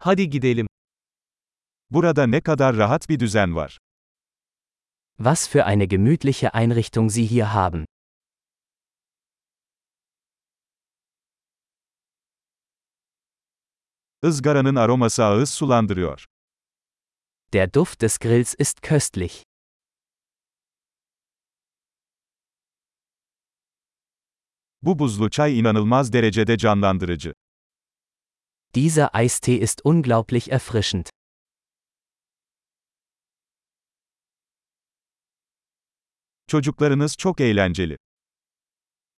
Hadi gidelim. Burada ne kadar rahat bir düzen var. Was für eine gemütliche Einrichtung Sie hier haben. Izgaranın aroması ağız sulandırıyor. Der Duft des Grills ist köstlich. Bu buzlu çay inanılmaz derecede canlandırıcı. Dieser Eistee ist unglaublich erfrischend. Çocuklarınız çok eğlenceli.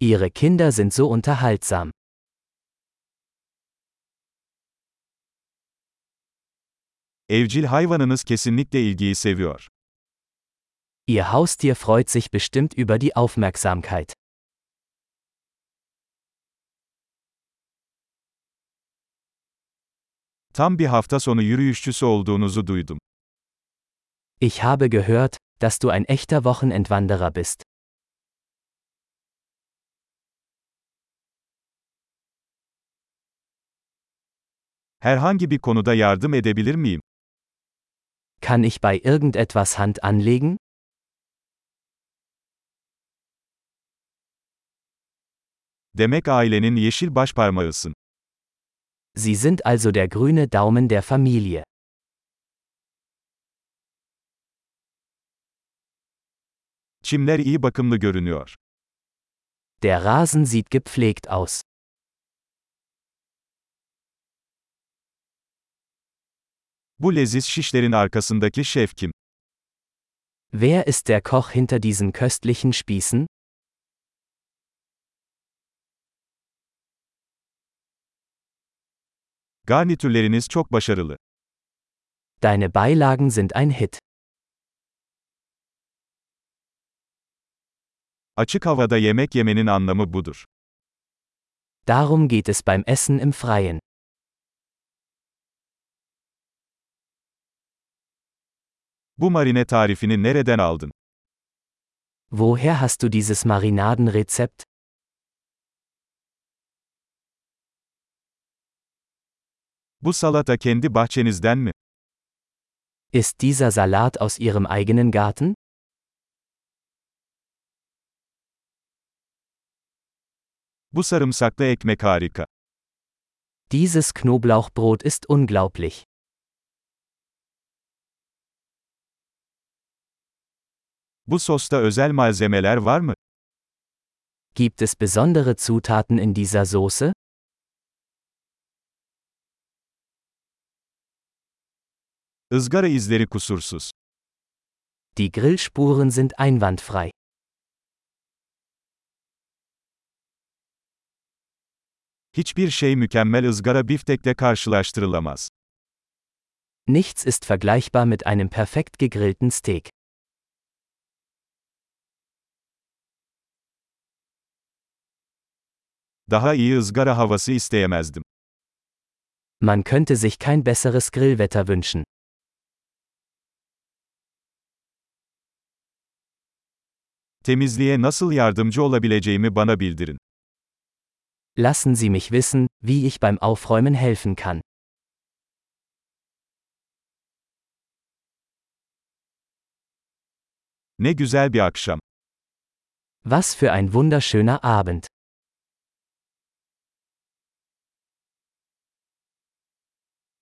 Ihre Kinder sind so unterhaltsam. Evcil hayvanınız kesinlikle ilgiyi seviyor. Ihr Haustier freut sich bestimmt über die Aufmerksamkeit. Tam bir hafta sonu yürüyüşçüsü olduğunuzu duydum. Ich habe gehört, dass du ein echter Wochenendwanderer bist. Herhangi bir konuda yardım edebilir miyim? Kann ich bei irgendetwas Hand anlegen? Demek ailenin yeşil başparmağısın. Sie sind also der grüne Daumen der Familie. Çimler iyi bakımlı görünüyor. Der Rasen sieht gepflegt aus. Bu leziz şişlerin arkasındaki şef kim? Wer ist der Koch hinter diesen köstlichen Spießen? Garnitürleriniz çok başarılı. Deine Beilagen sind ein Hit. Açık havada yemek yemenin anlamı budur. Darum geht es beim Essen im Freien. Bu marine tarifini nereden aldın? Woher hast du dieses Marinadenrezept? Bu salata kendi bahçenizden mi? Ist dieser Salat aus Ihrem eigenen Garten? Bu sarımsaklı ekmek harika. Dieses Knoblauchbrot ist unglaublich. Bu sosta özel malzemeler var mı? Gibt es besondere Zutaten in dieser Soße? Izgara izleri kusursuz. Die Grillspuren sind einwandfrei. Hiçbir şey mükemmel ızgara biftekle karşılaştırılamaz. Nichts ist vergleichbar mit einem perfekt gegrillten Steak. Daha iyi ızgara havası isteyemezdim. Man könnte sich kein besseres Grillwetter wünschen. Temizliğe nasıl yardımcı olabileceğimi bana bildirin. Lassen Sie mich wissen, wie ich beim Aufräumen helfen kann. Ne güzel bir akşam. Was für ein wunderschöner Abend.